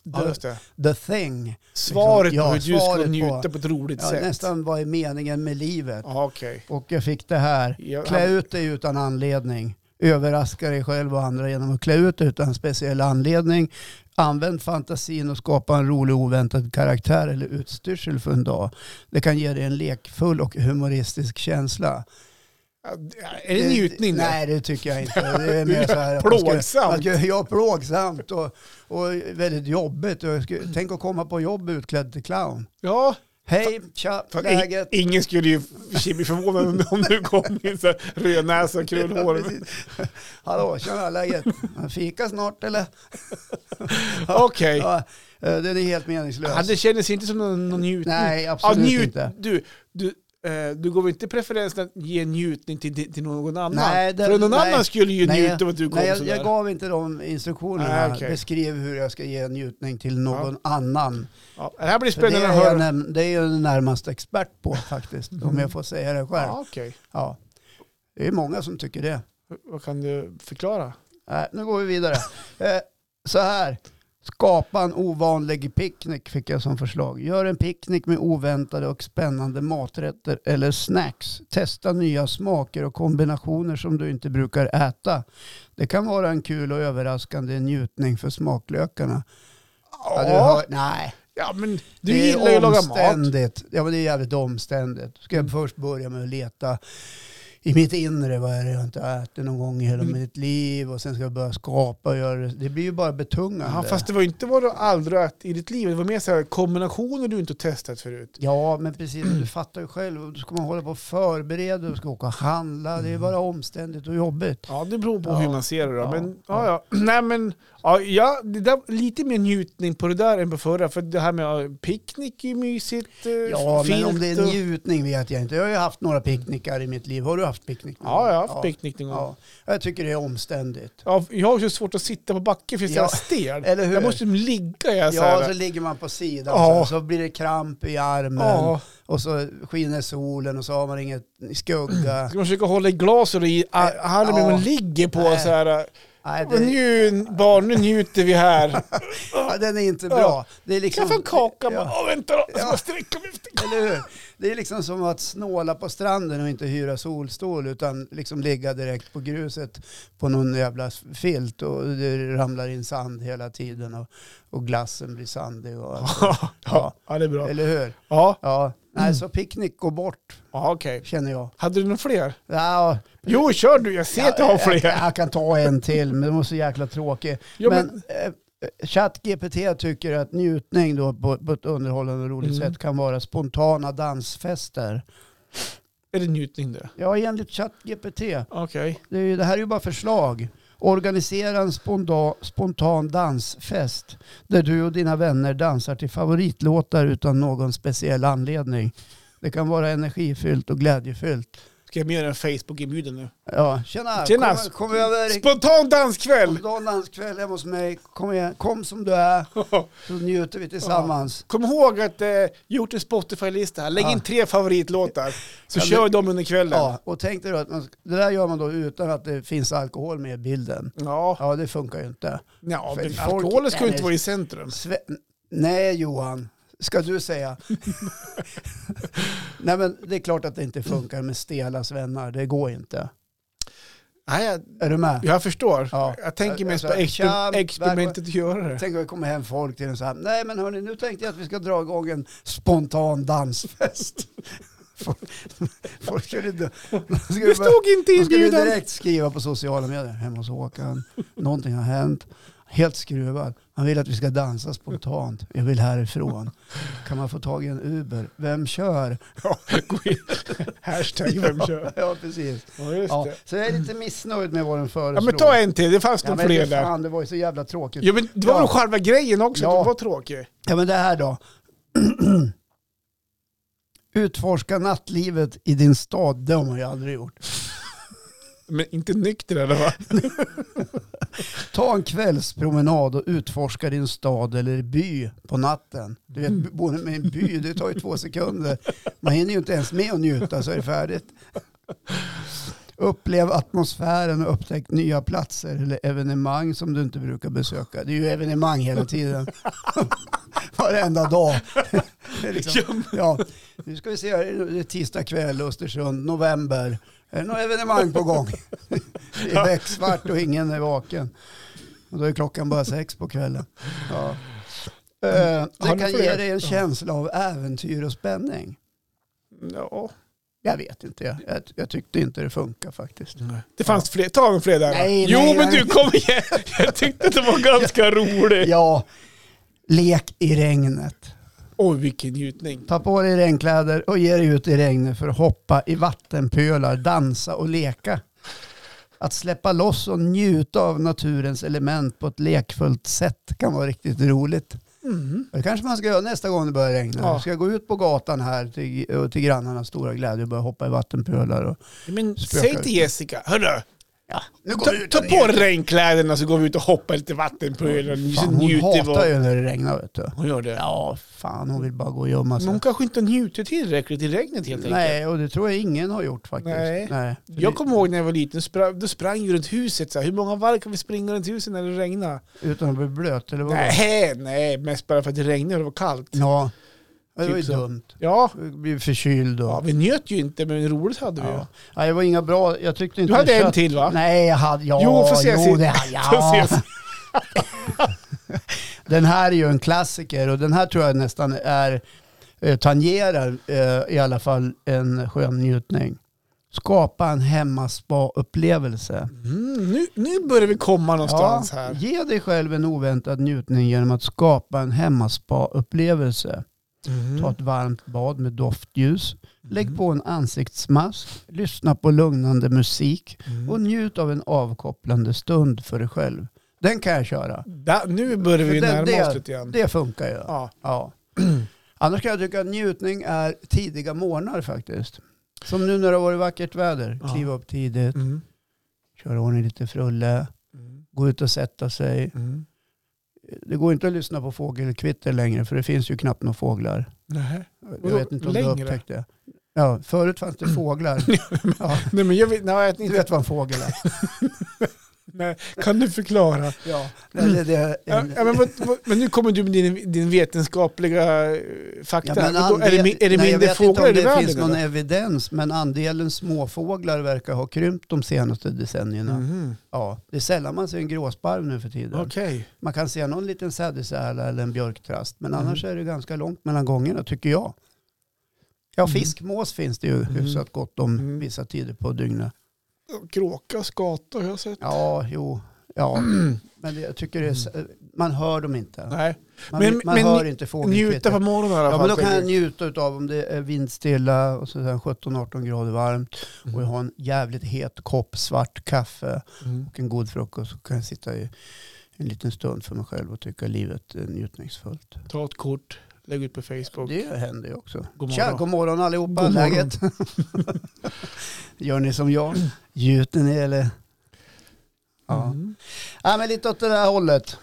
Ja,
the,
just det.
the thing.
Svaret
Ja,
på hur du ska
svaret på-
njuta på ett roligt
Ja,
sätt.
nästan vad är meningen med livet?
Ja, okej.
Och jag fick det här.
Ja,
Klä ut dig utan anledning. Överraska dig själv och andra genom att klä ut dig utan speciell anledning. Använd fantasin och skapa en rolig oväntad karaktär eller utstyrsel för en dag. Det kan ge dig en lekfull och humoristisk känsla.
Är det njutning? då?
Eh, Nej, det tycker jag inte. Det är mer så här att man ska-
Plågsamt.
man ska- Ja, plågsamt och, och väldigt jobbigt. Och jag skulle, tänk att komma på jobb utklädd till clown.
Ja,
Hej, tja,
Fan, i-
läget?
Ingen skulle ju k- bli förvånad om- om du kom i så här rödnäsa och krullhår.
Ja, precis. Hallå, tjena läget? Fika snart eller?
Okej.
Ja, eh, den är helt meningslös.
Ja, det kändes inte som någon, någon njutning.
Nej, absolut
njut-
inte.
Du, du, eh, du går väl inte preferensen att ge njutning till, till till någon annan?
Nej, det-
För någon
nej.
annan skulle ju
Nej,
njuta av att du kom
Nej, jag,
sådär.
jag gav inte de instruktionerna.
Nej, okej.
Beskriv hur jag ska ge njutning till någon annan.
ja, det här blir
För det,
spännande att
är jag,
höra. Mm.
näm- det är jag närmast expert på faktiskt, om jag får säga det själv.
Ja, okej.
Ja. Det är många som tycker det.
Vad kan du förklara?
Nej, nu går vi vidare. Eh, Så här. Skapa en ovanlig picknick fick jag som förslag. Gör en picknick med oväntade och spännande maträtter eller snacks. Testa nya smaker och kombinationer som du inte brukar äta. Det kan vara en kul och överraskande njutning för smaklökarna. Ja, du hör, nej,
ja men du
det är
gillar ju att laga mat. Mm.
omständigt. Ja, men det är jävligt omständigt. Ska jag först börja med att leta i mitt inre, vad är det jag inte har ätit någon gång i hela
Mm.
mitt liv? Och sen ska jag börja skapa och göra det. Det blir ju bara betungande.
Ja, fast det var ju inte vad du aldrig har ätit i ditt liv. Det var mer så här kombinationer du inte har testat förut.
Ja, men precis. Du fattar ju själv. Då ska man hålla på och förbereda, du ska åka och handla. Det är bara omständigt och jobbigt.
Mm. Ja, det beror på
Ja.
hur man ser det då.
Ja.
Men, ja, ja. Nej, men, ja, ja, det där, lite mer njutning på det där än på förra. För det här med ja, picknick är ju mysigt. eh,
Ja, men om det är
och-
njutning vet jag inte. Jag har ju haft några picknickar i mitt liv. Har du haft picknick? någon
Ja, jag har
gång?
haft picknick någon gång. Ja.
Ja. Jag tycker det är omständigt.
jag har ju så svårt att sitta på backen för jag är
Ja,
så här stel.
Eller hur?
Jag måste ligga. Jag, så
Ja,
här.
så ligger man på sidan
Ja.
så, här, så blir det kramp i armen
ja.
och så skiner solen och så har man inget skugga.
Ska man försöka hålla i glaset och i a- handen men
Eh, Ja.
man ligger på
Nej.
så här.
Nej,
Men
det,
nu barn, nu njuter vi här.
ja, den är inte bra. Det är
Kan
liksom,
jag få en kaka?
Ja,
Bara, Åh, vänta då, ska
Ja.
jag sträcka mig efter kakan?
eller hur? Det är liksom som att snåla på stranden och inte hyra solstol utan liksom ligga direkt på gruset på någon jävla filt och det ramlar in sand hela tiden och, och glassen blir sandig. Och,
Ja, ja, det är bra.
Eller hur?
Ja,
Ja, nej, så picknick går bort
ja okej.
känner jag.
Hade du några fler?
Ja,
Jo, kör du. Jag ser att du har
Jag, jag,
fler.
jag kan ta en till, men den var så jäkla tråkig.
Ja, men-
men eh, ChatGPT tycker att njutning då på, på ett underhållande och roligt
Mm.
sätt kan vara spontana dansfester.
Är det njutning det?
Ja, enligt ChatGPT.
Okej.
Det, är ju- det här är ju bara förslag. Organisera en sponda, spontan dansfest där du och dina vänner dansar till favoritlåtar utan någon speciell anledning. Det kan vara energifyllt och glädjefyllt.
Ska jag göra en Facebook-inbjudan nu?
Ja, tjena!
Tjena.
Kom, kom över!
Spontan danskväll!
Danskväll hemma hos mig. Kom, igen. kom som du är, så njuter vi tillsammans.
Kom ihåg att eh, gjort en Spotify-lista. Lägg
Ja.
in tre favoritlåtar. Så
Ja,
kör
men-
de under kvällen. Ja.
Ja, och tänk dig då att man, det där gör man då utan att det finns alkohol med i bilden.
Ja,
Ja, det funkar ju inte. För
men
folk-
alkoholen ska ju inte
Nej.
vara i centrum.
Sve- Nej, Johan, ska du säga. Nej, men det är klart att det inte funkar med stela svennar. Det går inte.
Nej, jag,
Är du med?
jag förstår.
Ja.
Jag tänker mest på
Alltså,
exper-
tja,
experimentet att göra det.
Tänk om det kommer hem folk till en så här, nej men hörni nu tänkte jag att vi ska dra igång en spontan dansfest. Folk- Folk skulle inte... de skulle
Det
bara-
stod inte i
de skulle
inbjudan.
direkt skriva på sociala medier, hemma hos Håkan, någonting har hänt, helt skruvad. Han vill att vi ska dansa spontant, jag vill härifrån. Kan man få tag i en Uber? Vem kör?
Ja, gå in. Hashtag vem kör.
Ja, precis.
Ja, just
Ja,
det.
så jag är lite missnöjd med vad den föreslår.
Ja, men ta en till. Det fanns nog
men
fler
fy
där.
fan, det var ju så jävla tråkigt.
Jo, men det var
Ja.
väl själva grejen också,
Ja.
att det var tråkigt.
Ja men det här då. Utforska nattlivet i din stad, det har man ju aldrig gjort.
Men inte nykter eller va?
Ta en kvällspromenad och utforska din stad eller by på natten. Du
Mm.
vet, både med en by, det tar ju två sekunder. Man hinner ju inte ens med att njuta så är det färdigt. Upplev atmosfären och upptäck nya platser eller evenemang som du inte brukar besöka. Det är ju evenemang hela tiden. Varenda dag. Det är liksom- Ja, nu ska vi se, här. det är tisdag kväll, Östersund, november. Är det något evenemang på gång? Det är becksvart och ingen är vaken. Och då är klockan bara sex på kvällen. Ja. Eh,
Har
Det
ni
kan
fler?
ge dig
Ja.
en känsla av äventyr och spänning.
Ja.
Jag vet inte, jag, jag, jag tyckte inte det funkar faktiskt.
Det fanns fler. Ta en fler där. va?
Nej,
jo,
nej,
men
nej.
du kom igen. Jag tyckte det var ganska roligt.
Ja, lek i regnet.
Oj, vilken njutning.
Ta på dig regnkläder och ge dig ut i regnet för att hoppa i vattenpölar, dansa och leka. Att släppa loss och njuta av naturens element på ett lekfullt sätt kan vara riktigt roligt.
Mm.
Det kanske man ska göra nästa gång det börjar regna.
Ja.
Ska jag gå ut på gatan här till, och till grannarnas stora glädje och börja hoppa i vattenpölar. Och,
Men
Spökar
säg
ut.
till Jessica, hörru,
ja, nu
ta, ta på regnkläderna så går vi ut och hoppar lite vattenpölar.
Fan,
Hon
hon
njuter
hatar
vi.
ju när det regnar vet du.
Hon gör det.
Ja, fan hon vill bara gå och gömma
Men hon
sig.
kanske inte njuter tillräckligt i regnet helt enkelt.
Nej, och det tror jag ingen har gjort faktiskt.
Nej.
Nej.
Jag kommer ihåg när jag var liten, spra- då sprang jag runt huset. Så här, hur många varv kan vi springa runt huset när det regnar?
Utan att bli blöt eller vad?
Nej, nej, mest bara för att det regnade och det var kallt.
Ja, det var ju
Typ så.
dumt.
Ja,
Blir förkyld och...
ja vi njöt ju inte, men roligt hade vi ju.
Ja. Nej, det var inga bra, jag tyckte inte...
Du hade en
kött-
till va?
Nej, jag hade... Ja,
Jo, får se
jo
sist.
det hade jag.
Får se
den här är ju en klassiker och den här tror jag nästan är, eh, tangerar eh, i alla fall en skön njutning. Skapa en hemmaspa-upplevelse.
Mm, nu, nu börjar vi komma någonstans här.
ge dig själv en oväntad njutning genom att skapa en hemmaspa-upplevelse.
Mm.
Ta ett varmt bad med doftljus. Lägg på en ansiktsmask. Lyssna på lugnande musik.
Mm.
Och njut av en avkopplande stund för dig själv. Den kan jag köra.
Da, nu börjar vi
För det-
närma
det-
oss lite grann.
Det funkar ju. Ja.
Ja. Mm.
Annars kan jag tycka att njutning är tidiga morgnar faktiskt. Som nu när det har varit vackert väder.
Ja.
Kliva upp tidigt,
Mm.
köra ordning lite frulle,
Mm.
gå ut och sätta sig. Det går inte att lyssna på fågelkvitter längre för det finns ju knappt några fåglar.
Nähä.
Jag
Vadå,
vet inte om
längre?
du upptäckte det. Ja, förut fanns det fåglar. Ja,
Nej, men jag vet, nej, jag vet
du
inte.
vet vad en fågel är.
Nej, kan du förklara?
Ja, nej, det, det är
Ja,
en,
ja, men, vad, vad, men nu kommer du med din, din vetenskapliga eh, fakta.
Ja, men
men då, är det,
andel-
min- är det
nej, jag
mindre
vet inte om
fåglar i
det
världen?
finns någon
eller?
evidens, men andelen småfåglar verkar ha krympt de senaste decennierna.
Mhm.
Ja, det är sällan man ser en gråsparv nu för tiden.
Okej.
Man kan se någon liten sädesärla eller en björktrast, men
Mm.
annars är det ganska långt mellan gångerna tycker jag. Ja,
Mm.
fiskmås finns det ju hyfsat gott om
Mm.
vissa tider på dygnet.
Kråka och skata har jag sett.
Ja, jo, ja. Men det, jag tycker det är, s- man hör dem inte.
Nej.
Man,
Men-
man
men
hör inte fågelkvitter.
Njuta på morgonen i alla
Ja,
fall.
men då kan
tänker
jag njuta utav om det är vindstilla och så där 17-18 grader varmt
Mm.
och jag har en jävligt het kopp svart kaffe
Mm.
och en god frukost så kan jag sitta i en liten stund för mig själv och tycka livet är njutningsfullt.
Ta ett kort. lägga ut på Facebook.
Det händer ju också.
God
Tja,
morgon.
god morgon allihopa.
God morgon.
Läget? Gör ni som jag? Gjuten ni eller? Ja.
Mm.
ja, men lite åt det där hållet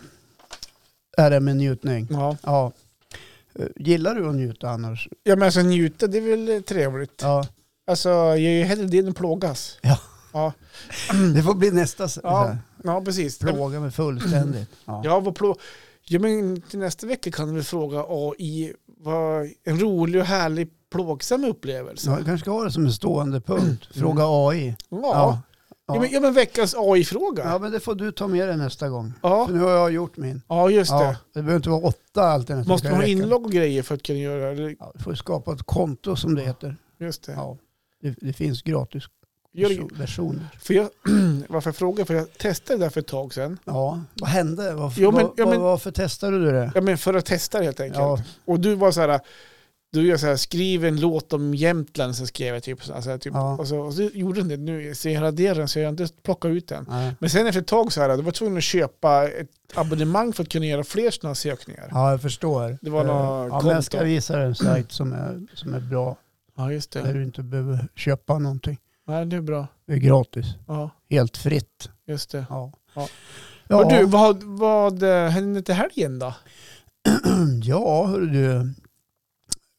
är det med njutning.
ja.
Ja. Eh, Gillar du att njuta annars?
Ja men alltså njuta, det är väl trevligt.
Ja.
Alltså jag gör ju hellre det än plågas.
Det får bli nästa s-
Ja.
här.
Ja precis.
plåga mig fullständigt. Ja.
Ja, vad plå... ja men till nästa vecka kan du väl fråga AI vad en rolig och härlig plågsam upplevelse.
Så jag kanske ska ha det som en stående punkt. Fråga AI.
Mm. Ja.
Ja.
Ja.
Ja.
men, ja men veckans AI-fråga.
ja,
Ja.
men det får du ta med dig nästa gång.
Ja.
För nu har jag gjort min.
just
Ja,
det.
det behöver inte vara åtta alternativ.
Måste
Det
man ha
räcker.
inlogg och grejer för att kunna göra det?
Ja, du får skapa ett konto som det heter.
Just det.
Ja. Det, det finns gratis
Gör
version- versioner.
För jag, varför jag frågar? För jag testade det där för ett tag sedan.
Ja, vad hände? Varför,
Jo, men-
var,
ja, men-
varför testade du det?
Ja, men för att testa det helt enkelt.
Ja,
Och du var så här, du gör så här, skriv en låt om Jämtland, så skrev jag typ så här, så här typ,
Ja.
och, så, och så gjorde den det, nu ser jag raderar den så jag har inte plockat ut den.
nej.
Men sen efter ett tag så här, du var tvungen att köpa ett abonnemang för att kunna göra fler sådana sökningar.
ja jag förstår.
Det var
Eh,
några
ja, men jag ska
konton.
visa dig en sajt som är, som är bra.
Ja, just
Där
det.
du inte behöver köpa någonting.
Nej, det är bra.
Det är gratis.
Ja,
Helt fritt.
just det.
Ja.
Ja.
Ja.
Och du, vad, vad eh, händer till helgen då?
Ja, hörru du.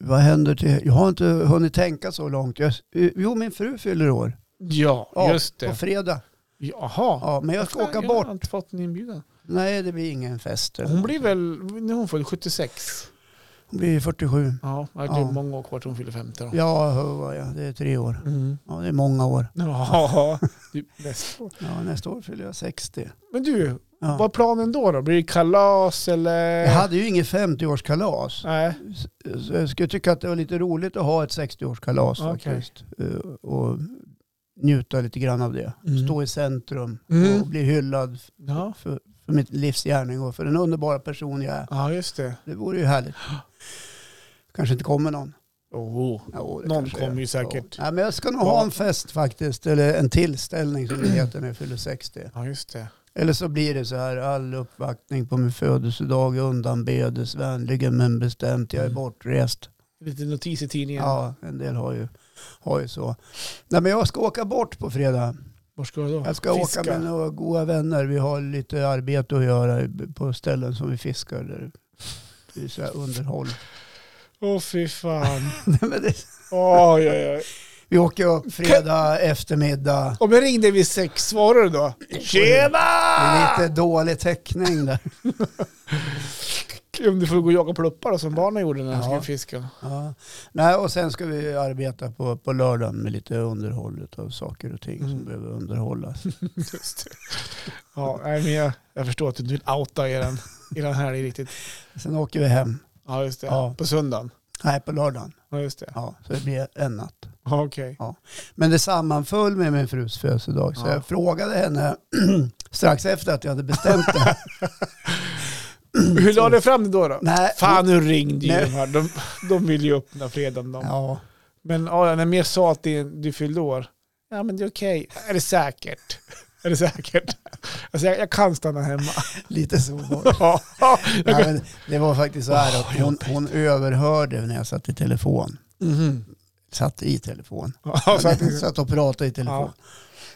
Vad händer till... Jag har inte hunnit tänka så långt. Jag, eh, jo, min fru fyller år.
Ja,
Ja,
just
På
det.
fredag.
Jaha.
Ja, men jag ska åka
Jag
bort.
har inte fått en inbjudan.
Nej, det blir ingen fest. eller
Hon blir
någonting.
väl, när hon född, 76?
Hon blir 47.
Ja, det är
Ja.
många år kvar till hon fyller 50 då.
Ja, hur var jag? det är tre år.
Mm.
Ja, det är många år.
Ja, det är bäst.
Ja, nästa år fyller jag 60.
Men du,
Ja.
vad är planen då? då? Blir det kalas eller?
Jag hade ju inget 50-årskalas.
Nej,
Så jag skulle tycka att det var lite roligt att ha ett 60-årskalas
Okej.
faktiskt. Eh, Och njuta lite grann av det.
Mm.
Stå i centrum
Mm.
och bli hyllad
ja.
för, för mitt livsgärning och för den underbara person jag är.
ja just det.
Det vore ju härligt. Kanske inte kommer någon.
Oh.
Jo, det
Någon
kanske
kommer
är.
ju säkert.
Ja. Nej, men jag ska nog ha en fest faktiskt, eller en tillställning som det heter när jag fyller 60.
Ja just det.
Eller så blir det så här, all uppvaktning på min födelsedag undanbedes vänligen men bestämt, jag är
Mm.
bortrest.
Lite notis i tidningen.
Ja, en del har ju, har ju så. Nej, men jag ska åka bort på fredag.
Var ska du då?
Jag ska
Fiska.
åka med några goda vänner. Vi har lite arbete att göra på ställen som vi fiskar. Där det är så här underhåll.
Åh fy fan.
Nej, men det,
Oj, oj, oj.
vi åker upp fredag eftermiddag.
Om jag ringde vid sex, svarar du då?
Det
Tjena!
är lite dålig täckning där.
Om du får gå och jaga pluppar då, som barnen gjorde när de
Ja.
skulle fiska.
Ja. Nej, och sen ska vi arbeta på, på lördagen med lite underhåll av saker och ting som
Mm.
behöver underhållas.
Just det. Ja, nej, men jag, jag förstår att du inte vill outa er den, i den här riktigt.
Sen åker vi hem.
Ja, just det.
Ja.
På söndagen.
Nej, på lördagen.
Ja, just det.
Ja, så det blir en natt.
Ja, okej.
Men det sammanföll med min frus födelsedag. Så
Ja.
jag frågade henne strax efter att jag hade bestämt det.
Hur la du fram det då? då?
Mm. Nej,
Fan, nu ringde ju
Nej.
de här. De, de vill ju öppna fredagen. De.
Ja,
Men ja, när jag sa att det, du fyllde år. Ja, men det är okej. Är det säkert? Är det säkert? Alltså, jag, jag kan stanna hemma.
lite så var det.
Ja,
Nej, men det var faktiskt så här
Åh,
att hon, hon överhörde när jag satt i telefon. Satt i telefon.
Mm-hmm. ja, så att,
satt och pratade i telefon.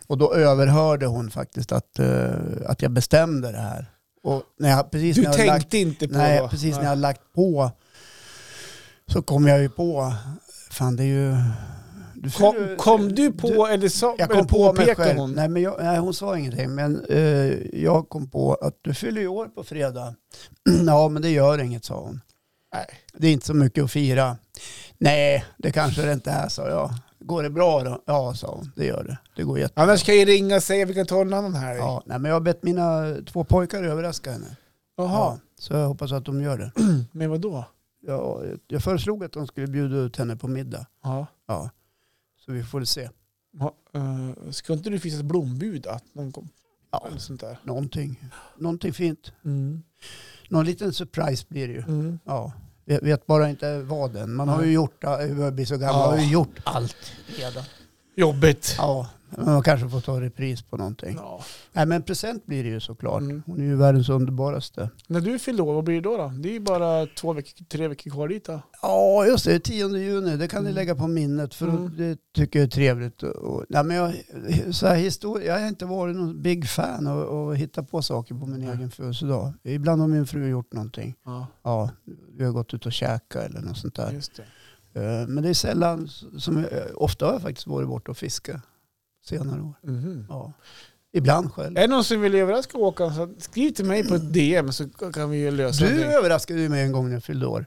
Och då överhörde hon faktiskt att, eh, att jag bestämde det här. Och när jag, precis
du
när jag
tänkte
hade lagt,
inte på
Nej,
då?
precis när jag
Nej.
hade lagt på så kom jag ju på, fan det är ju... Du
Kom,
fyller-
kom du på eller sa,
Jag kom
eller
på mig
påpekade
själv.
hon?
Nej, men jag, nej, hon sa ingenting. Men eh, jag kom på att du fyller ju år på fredag. ja, men det gör inget, sa hon.
Nej.
Det är inte så mycket att fira. Nej, det kanske det inte är, sa jag. Går det bra då? Ja, sa hon. Det gör det. Det går jättebra.
Annars kan jag ju ringa och säga att vi kan ta en annan här.
Ja, nej, men jag har bett mina två pojkar överraska henne.
Jaha,
Ja, så jag hoppas att de gör det.
men vad då?
Ja, jag föreslog att de skulle bjuda ut henne på middag.
Ja.
Ja, så vi får se.
Ja, eh, ska inte du finnas blombud? Att någon kom,
Ja,
eller sånt där.
någonting. Någonting fint.
Mm.
Någon liten surprise blir det ju.
Mm.
Ja, jag vet bara inte vad än. Man har ju gjort, jag börjar bli så gammal,
Ja.
har ju gjort allt redan.
Jobbigt.
Ja, Man kanske får ta repris på någonting.
Ja.
Nej men present blir det ju såklart.
Mm.
Hon är ju världens underbaraste.
När du fyllde år, vad blir det då? då? Det är ju bara två veckor, tre veckor kvar dit då.
Ja just det, 10 juni. Det kan ni
Mm.
lägga på minnet för
Mm.
det tycker jag är trevligt. Och, nej, men jag, så här, histori- jag har inte varit någon big fan och, och hitta på saker på min
Nej.
egen födelsedag. Ibland har min fru gjort någonting.
Ja,
Ja, vi har gått ut och käkat eller något sånt där.
just det.
Eh, Men det är sällan, som, eh, ofta har jag faktiskt varit borta och fiskat senare år.
Mhm.
Ja. Ibland själv.
Är det någon som vill överraska Håkan så skriv till mig på ett DM så kan vi ju lösa
Du
det.
överraskade ju mig en gång när jag fyllde år.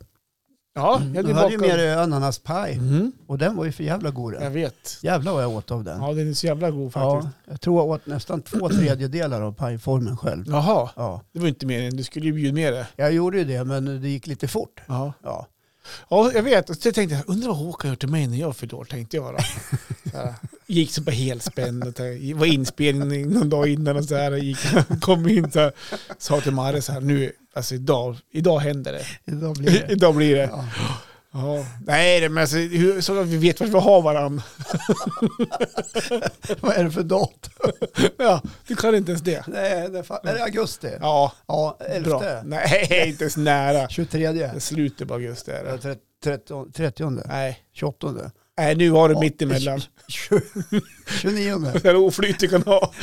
Ja, jag
Du
är
hade ju med
bakom.
dig ananaspaj
Mhm.
och den var ju för jävla god
Jag
den.
vet.
Jävlar vad jag åt av den.
Ja, den är så jävla god
Ja,
faktiskt.
jag tror jag åt nästan två tredjedelar av pajformen själv.
Jaha,
Ja,
det var inte meningen. Du skulle ju bjuda med det.
jag gjorde ju det men det gick lite fort.
Ja.
Ja.
Ja, jag vet. Och så tänkte jag, undrar vad Håkan gjort till mig när jag fyllde år, tänkte jag då. Så här, gick så på helspänn, och tänkte- var inspelning någon dag innan och så här, gick, kom in så här, sa till Marre så här, nu, alltså idag, idag händer det.
Idag blir det.
idag blir det.
Ja.
Ja. Nej, det- men alltså, hur, så att vi vet vart vi har varandra.
Vad är det för datum?
Ja, du kan inte ens det.
Nej, det är, fan, är det augusti?
Ja,
Ja,
bra.
11.
Nej, inte ens nära.
23.
Det är Slutet på augusti är det.
30. 30.
Nej.
28.
Nej, nu har du
Ja,
mittemellan.
29.
Det är oflyt du kan ha.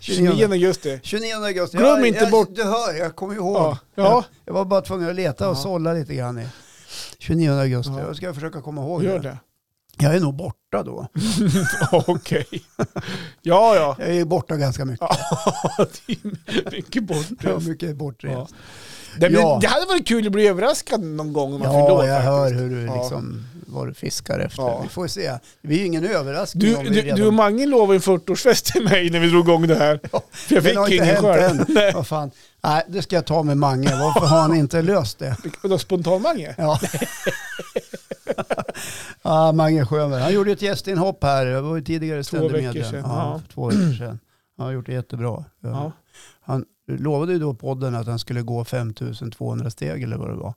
29 augusti.
29 augusti.
Glöm
Jag-
inte
jag,
bort-
Du hör, jag kommer ihåg.
Ja. ja.
Jag var bara tvungen att leta och
Ja.
sålla lite grann. i 29 augusti.
Ja.
Jag ska försöka komma ihåg
Gör
det.
det.
Jag är nog borta då.
Okej. Ja, ja.
Jag är borta ganska mycket.
Ja, det är mycket
Jag
bortrest.
är mycket
Ja.
bortrest.
Det,
Ja.
det hade varit kul att bli överraskad någon gång om man
Ja,
förlorar
jag hör
faktiskt.
hur du
Ja.
liksom, vad du fiskar efter.
Ja.
Vi får se. Det blir ju ingen överraskning om
Du,
vi
du,
redan...
du och Mange lovade en 40-årsfest till mig när vi drog igång det här.
Ja,
För jag
den har
fick
inte
ingen
hänt
själv.
än. Vad fan. Nej, det ska jag ta med Mange. Varför har han inte löst det?
Vadå, spontan-Mange?
Ja. ja, Mange Sjöberg. Han gjorde ett gästinhopp här. Jag var ju tidigare ständig
veckor
medlem.
sedan,
Ja,
ja.
för två veckor sedan. Han har gjort det jättebra.
Ja.
Han lovade ju då podden att han skulle gå 5200 steg eller vad det var.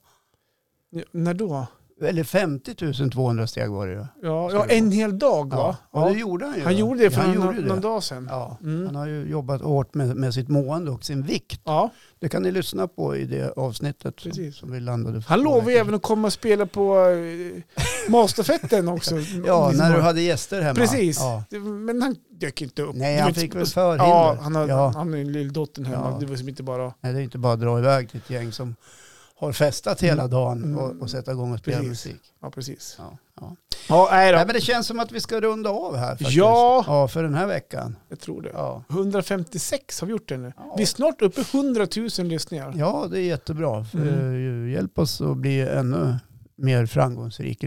När då?
Eller 50 200 steg var det ju.
Ja,
Ska
ja
det
en hel dag
Ja,
va?
och det
Ja.
gjorde han ju.
Han gjorde det för
Ja, han
någon,
gjorde det.
någon dag sedan.
Ja,
Mm.
han har ju jobbat hårt med, med sitt mående och sin vikt.
Ja.
Det kan ni lyssna på i det avsnittet som,
Precis.
som vi landade för
Han
två
lovade ju
veckor
även att komma och spela på eh, Masterfetten också. Liksom.
sedan. Ja, när du hade gäster hemma.
Precis.
Ja.
Det- Men han dök inte upp.
Nej,
Det var
han
inte-
fick väl förhinder.
Ja, han har,
Ja.
han har en lilldotter hemma.
Ja.
Det var som inte bara...
Nej, det är inte bara att dra iväg till ett gäng som har festat hela dagen
Mm.
och, och sätta igång och spela
Precis.
musik.
Ja, precis.
Ja, ja.
Ja, nej då.
Nej, men det känns som att vi ska runda av här faktiskt.
Ja.
ja för den här veckan.
Jag tror det.
Ja.
156 har vi gjort det nu.
Ja.
Vi är snart uppe i 100 000 lyssningar.
ja, det är jättebra. För,
Mm.
eh, Hjälp oss att bli ännu mer framgångsrik i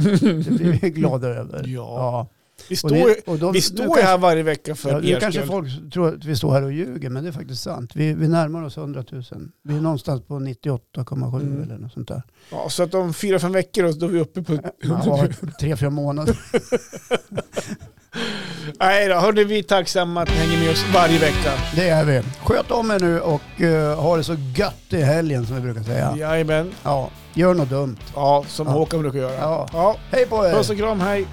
Det blir vi glada över.
Ja. Vi
Och
står,
det-
ju-
och då-
vi
nu
står
kanske-
ju här varje vecka
Ja,
för
nu
er
kanske
skull.
folk tror att vi står här och ljuger, men det är faktiskt sant. Vi, vi närmar oss 100 000. Vi är någonstans på 98,7
Mm.
eller något sånt där.
Ja, så att om fyra, fem veckor då är vi uppe på...
Ja, tre, fyra månader.
Nej då, hörni, vi är tacksamma att ni hänger med oss varje vecka.
Det är vi. Sköt om er nu och eh, ha det så gött i helgen som vi brukar säga. Ja,
Jajamän.
gör något dumt.
Ja, som
Ja.
Håkan brukar göra.
Ja.
Ja,
Hej på er!
puss och kram, hej.